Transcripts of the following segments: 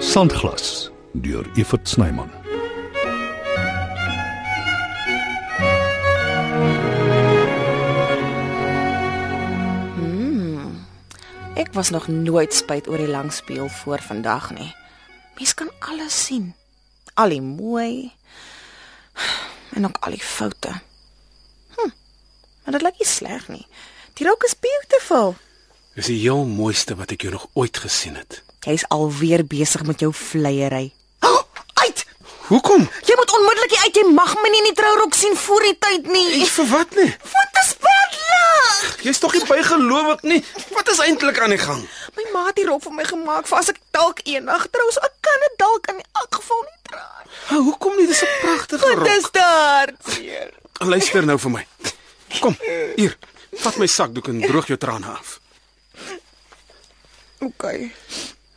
Sandglas deur Evert Snyman. Ek was nog nooit spyt oor die lang speel voor vandag nie. Mens kan alles sien. Al die mooi en ook al die foute. Hm. Maar dit lyk nie sleg nie. Die rok is beautiful. Dis die heel mooiste wat ek jou nog ooit gesien het. Jy's alweer besig met jou vleiery. Oh, uit! Hoekom? Jy moet onmiddellik hier uit. Jy mag my nie in die trourok sien voor die tyd nie. vir wat nie? Wat 'n sperlig! Jy's tog nie bygelowig nie. Wat is eintlik aan die gang? My ma het die rok vir my gemaak vir as ek dalk eendag trou, so ek kan dit dalk in elk geval nie dra nie. Ha, hoekom nie? Dis 'n pragtige Dit rok. is te hartseer. Luister nou vir my. Kom, hier. Vat my sakdoek en droog jou trane af. OK.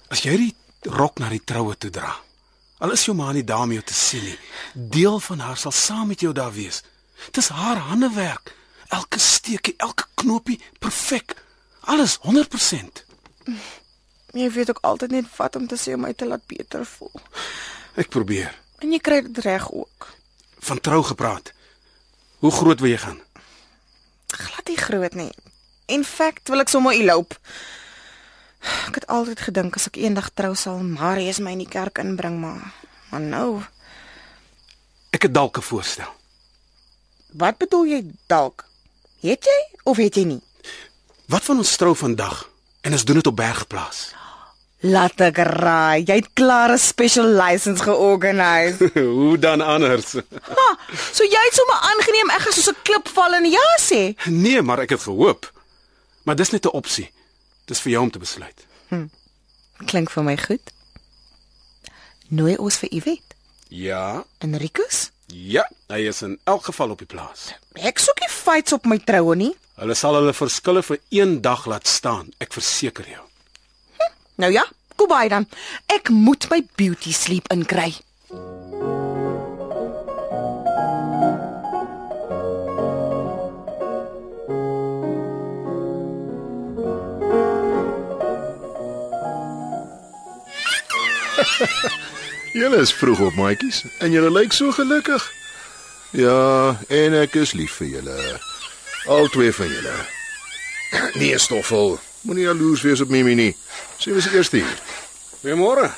As jy die rok na die troue toe dra, al is jou ma nie daar om jou te sien nie, deel van haar sal saam met jou daar wees. Dis haar handewerk. Elke steekie, elke knoopie perfek. Alles 100%. Jy Nee, weet ook altyd net wat om te sê om my te laat beter voel. Ek probeer. En jy kry dit reg ook. van trou gepraat. Hoe groot wil jy gaan? Glad nie groot nie. In feite wil ek sommer eloop. Ek het altyd gedink as ek eendag trou sal Marius my in die kerk inbring, maar maar nou, Ek het dalk 'n voorstel. wat bedoel jy dalk? Het jy of het jy nie? Wat van ons trou vandag en ons doen dit op Bergplaas? Laat ek raai, jy het klaar 'n special license georganiseer. Hoe dan anders? ha, so jy het sommer aangeneem ek gaan soos 'n klip val en ja sê. nee, maar ek het gehoop. Maar dis net 'n opsie. Dis vir jou om te besluit. Klink vir my goed. Nooi ons vir Iwet Ja, en Rikus? ja, hy is in elk geval op die plaas. Ek soek nie fights op my troue nie. Hulle sal hulle verskille vir een dag laat staan, ek verseker jou. Nou ja, kom by dan. Ek moet my beauty sleep inkry. Julle is vroeg op, maatjies, en julle lyk so gelukkig. Ja, en ek is lief vir julle. Al twee van julle. Nee, Stoffel, moenie jaloers wees op Mimi nie. Sy was eers hier. Goeiemôre.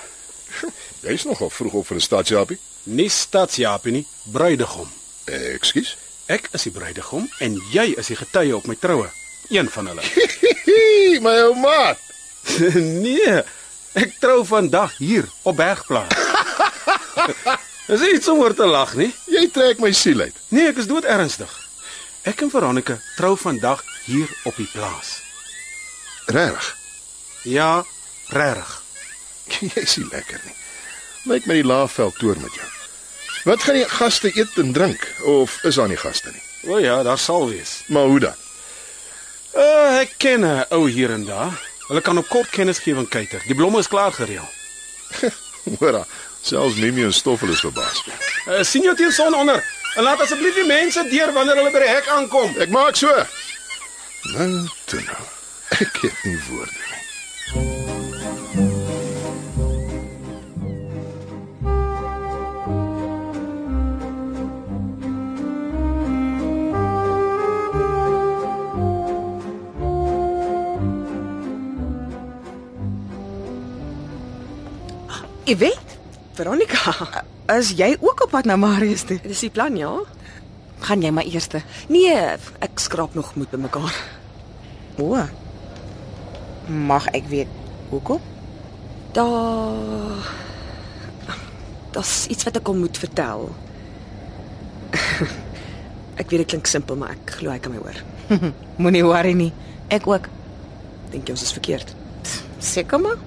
Jy's nogal vroeg op vir 'n stadsjapie. Nie stadsjaapie nie, bruidegom. Ekskuus. Ek is die bruidegom en jy is die getuie op my troue, een van hulle. my ou maat. nee, ek trou vandag hier op Bergplaas. Is dit iets om oor te lag nie? Jy trek my siel uit. Nee, ek is dood ernstig. Ek en Veronica trou vandag hier op die plaas. Regtig. Ja, regtig. Jy's nie lekker nie. Lyk my die laafveld toer met jou. Wat gaan die gaste eet en drink of is daar nie gaste nie? O ja, daar sal wees. Maar hoe dan? Uh, ek ken 'n ou hier en daar. Hulle kan op kort kennisgewing kuier. Die blomme is klaar gereël. Hoor, daar, selfs Mimi en Stoffel is verbaas. Uh, sien jou teen son onder. En laat asseblief die mense deur wanneer hulle by die hek aankom. Ek maak so. Nou, toe nou. Ek het nie woorde nie. Iwet, Veronica, is jy ook op pad na Marius toe? dis die plan ja? Gaan jy maar eerste. Nee, ek skraap nog moed bymekaar. O. Mag ek weet hoekom? Daar Daar's iets wat ek hom moet vertel. ek weet dit klink simpel, maar ek glo hy kan my hoor. Moenie worry nie. Ek ook. Dink jy ons is verkeerd? Seker maar.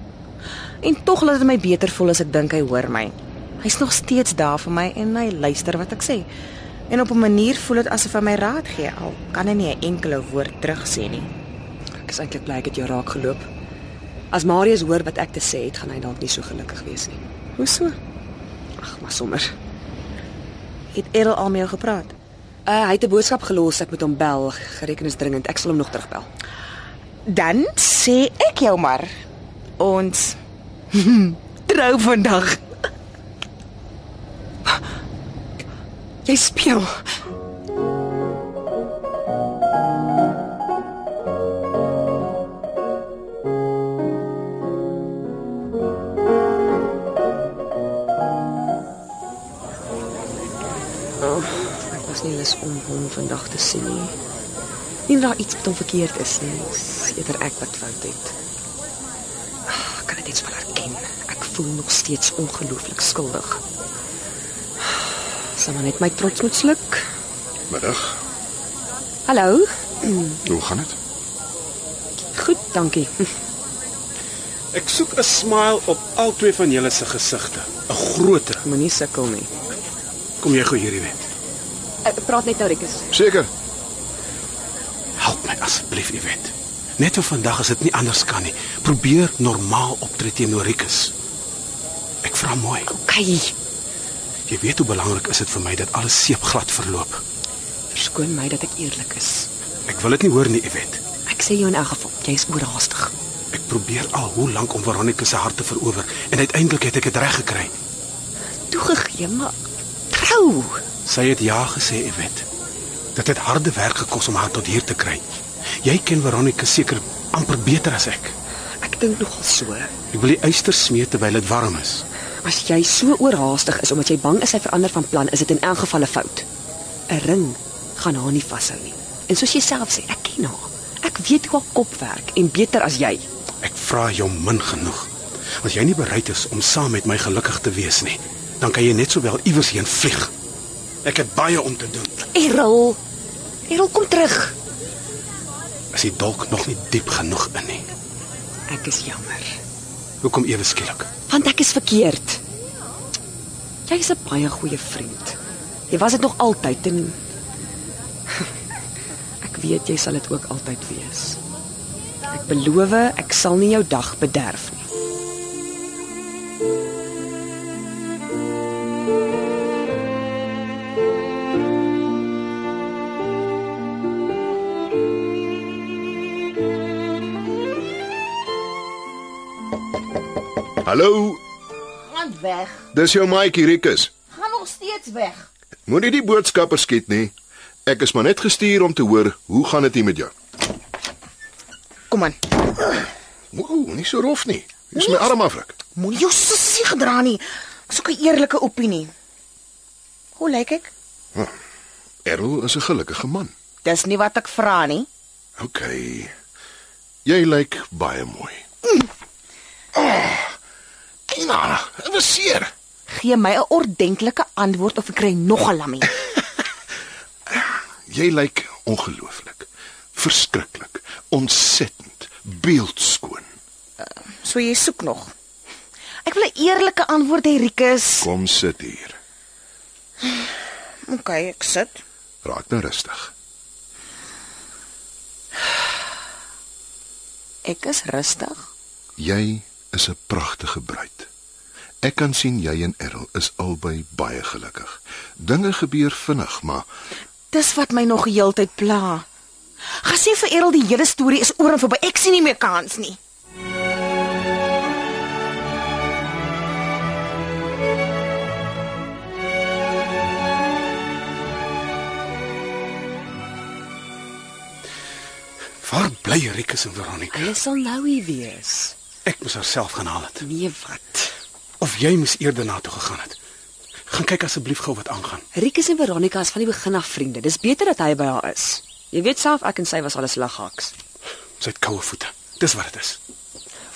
En tog laat dit my beter voel as ek dink hy hoor my. Hy's nog steeds daar vir my en hy luister wat ek sê. En op 'n manier voel dit asof hy my raad gee al kan hy nie 'n enkele woord terug sê nie. Ek is eintlik bly ek het jou raak geloop. As Marius hoor wat ek te sê het, gaan hy dalk nie so gelukkig wees nie. Hoe so? Ag, maar sommer. Het Errol al met jou gepraat? Uh, hy het 'n boodskap gelos, ek moet hom bel, gereken is dringend. Ek sal hom nog terugbel. Dan sê ek jou maar ons trou vandag. Jy speel. Oh, Ek was nie lus om hom vandag te sien nie. Nie dat daar iets met hom verkeerd is nie. Dis eerder ek wat fout het. Ek kan dit net wel erken. Ek voel nog steeds ongelooflik skuldig. Sal maar net my trots moet sluk. Middag. Hallo. Hoe gaan dit? Goed, dankie. Hm, Ek soek 'n smile op albei van julle se gesigte, 'n groter. Moenie sukkel nie. Kom jy gou hierdie wet. Ek praat net nou rekus. Seker. Help my asseblief, Iwet. Net vir vandag as dit nie anders kan nie. Probeer normaal optree teenoor Rikus. Ek vra mooi. Okay. Jy weet hoe belangrik is dit vir my dat alles seepglad verloop. Verskoon my dat ek eerlik is. Ek wil dit nie hoor nie, Iwet. Ek sê jou in elk geval, jy is oorhaastig. Ek probeer al hoe lank om Veronica se hart te verower en uiteindelik het ek dit reg gekry. Toegegee, maar trou. Sy het ja gesê, Iwet. Dit het harde werk gekos om haar tot hier te kry. Jy ken Veronica seker amper beter as ek. Ek dink nogal so. Ek wil die yster smee terwyl dit warm is. As jy so oorhaastig is omdat jy bang is hy verander van plan, is dit in elk geval 'n fout. 'n Ring gaan haar nie vashou nie. En soos jy self sê, ek ken haar. Ek weet hoe haar kop werk en beter as jy. Ek vra jou min genoeg. As jy nie bereid is om saam met my gelukkig te wees nie, dan kan jy net sowel iewers heen vlieg. Ek het baie om te doen. Errol. Errol kom terug. Is die dolk nog nie diep genoeg in nie? Ek is jammer. Hoekom ewe skielik? Want ek is verkeerd. Jy is 'n baie goeie vriend. Jy was dit nog altyd en ek weet jy sal dit ook altyd wees. Ek beloof ek sal nie jou dag bederf nie. Hallo, Gaan weg. dis jou maatjie Rikus. Gaan nog steeds weg. Moenie die boodskapper skiet nie. Ek is maar net gestuur om te hoor hoe gaan dit hier met jou. Kom aan. Ooh, nie so rof nie. Dis my arm afruk. Moenie jou sussie gedra nie. Ek soek 'n eerlike opinie. Hoe lyk ek? Errol is 'n gelukkige man. Dis nie wat ek vra nie. OK. Jy lyk baie mooi. Mm. Ah, Ina, dit was seer. Gee my 'n ordentlike antwoord of ek kry nog 'n lammie. Jy lyk ongelooflik. Verskriklik, ontsettend, beeldskoon. So jy soek nog. Ek wil 'n eerlike antwoord hê, Rikus. Kom sit hier. OK, ek sit. Raak nou rustig. Ek is rustig. Jy is 'n pragtige bruid. Ek kan sien jy en Errol is albei baie gelukkig. Dinge gebeur vinnig, maar Dis wat my nog heeltyd pla. Gaan sê vir Errol die hele storie is oor en verby. Ek sien nie meer kans nie. Waar bly Rikus en Veronica? Hulle sal nou hier wees. Ek moes haarself gaan haal het. Nee, wat? Of jy moes eerder na toe gegaan het. Gaan kyk asseblief gou wat aangaan. Rikus en Veronica is van die begin af vriende. Dis beter dat hy by haar is. Jy weet self ek en sy was alles laghaks. Sy het koue voete. Dis wat dit is.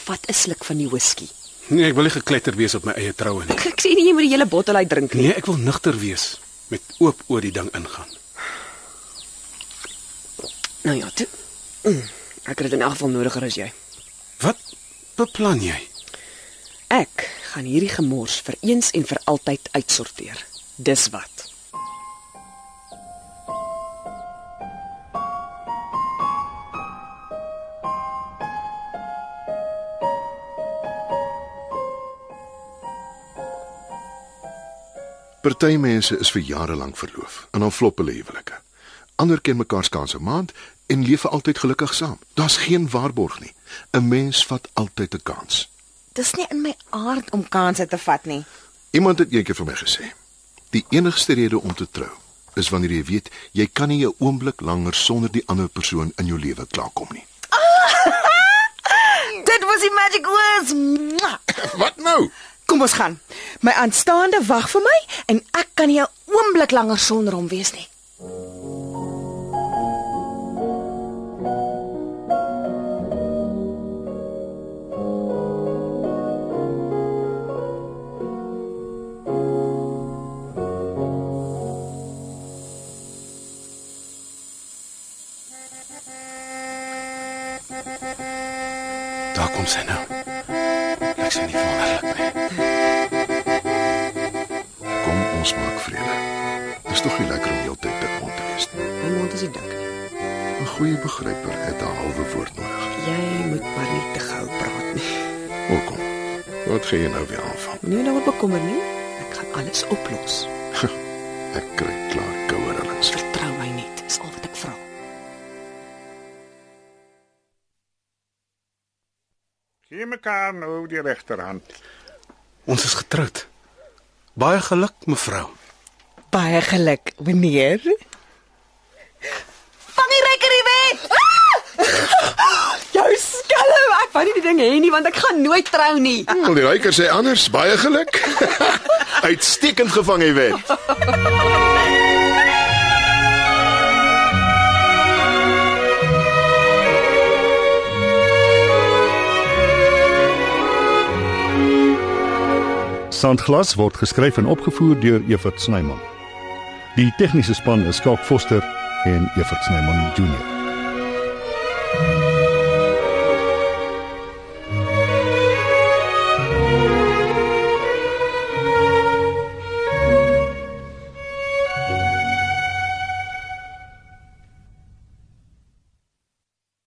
Vat 'n sluk van die whisky. Nee, ek wil nie gekletter wees op my eie troue nie. Ek sê nie jy moet die hele bottel uit drink nie. Nee, ek wil nugter wees met oop oor die ding ingaan. Nou ja, toe. Mm, Ek het dit in elk geval nodiger as jy. Wat beplan jy? Ek gaan hierdie gemors vir eens en vir altyd uitsorteer. Dis wat. Party mense is vir jare lank verloof en dan flop hulle huwelike. Ander ken mekaar skaars 'n maand en leef vir altyd gelukkig saam. Daar's geen waarborg nie. 'n Mens vat altyd 'n kans. Dis nie in my aard om kansse te vat nie. Iemand het eendag vir my gesê, die enigste rede om te trou is wanneer jy weet jy kan nie 'n oomblik langer sonder die ander persoon in jou lewe klaarkom nie. Dit was die magic words. Mwah! Wat nou? Kom ons gaan. My aanstaande wag vir my en ek kan nie 'n oomblik langer sonder hom wees nie. Daar kom sy nou. Ek sien nie wonderlik nie. Kom ons maak vrede. Dis tog nie lekker om heeltyd pikmond te wees nie. My mond is nie dik nie. 'n Goeie begryper het 'n halwe woord nodig. Jy moet maar nie te gou praat nie. Hoekom? Wat gaan jy nou weer aanvang? Moenie nou oor bekommer nie. Ek gaan alles oplos. Ek kry klaar koue rillings. Vertrou my net, is al wat ek vra. Gee mekaar nou die regterhand. Ons is getroud. Baie geluk, mevrou. Baie geluk, meneer. Vang die rekker hier weg. Jou skelm, ek wil nie die ding hê nie want ek gaan nooit trou nie. Wil die ryker sê anders? Baie geluk. Uitstekend gevang hy wen. Sandglas word geskryf en opgevoer deur Evert Snyman. Die tegniese span is Skalk Foster en Evert Snyman Junior.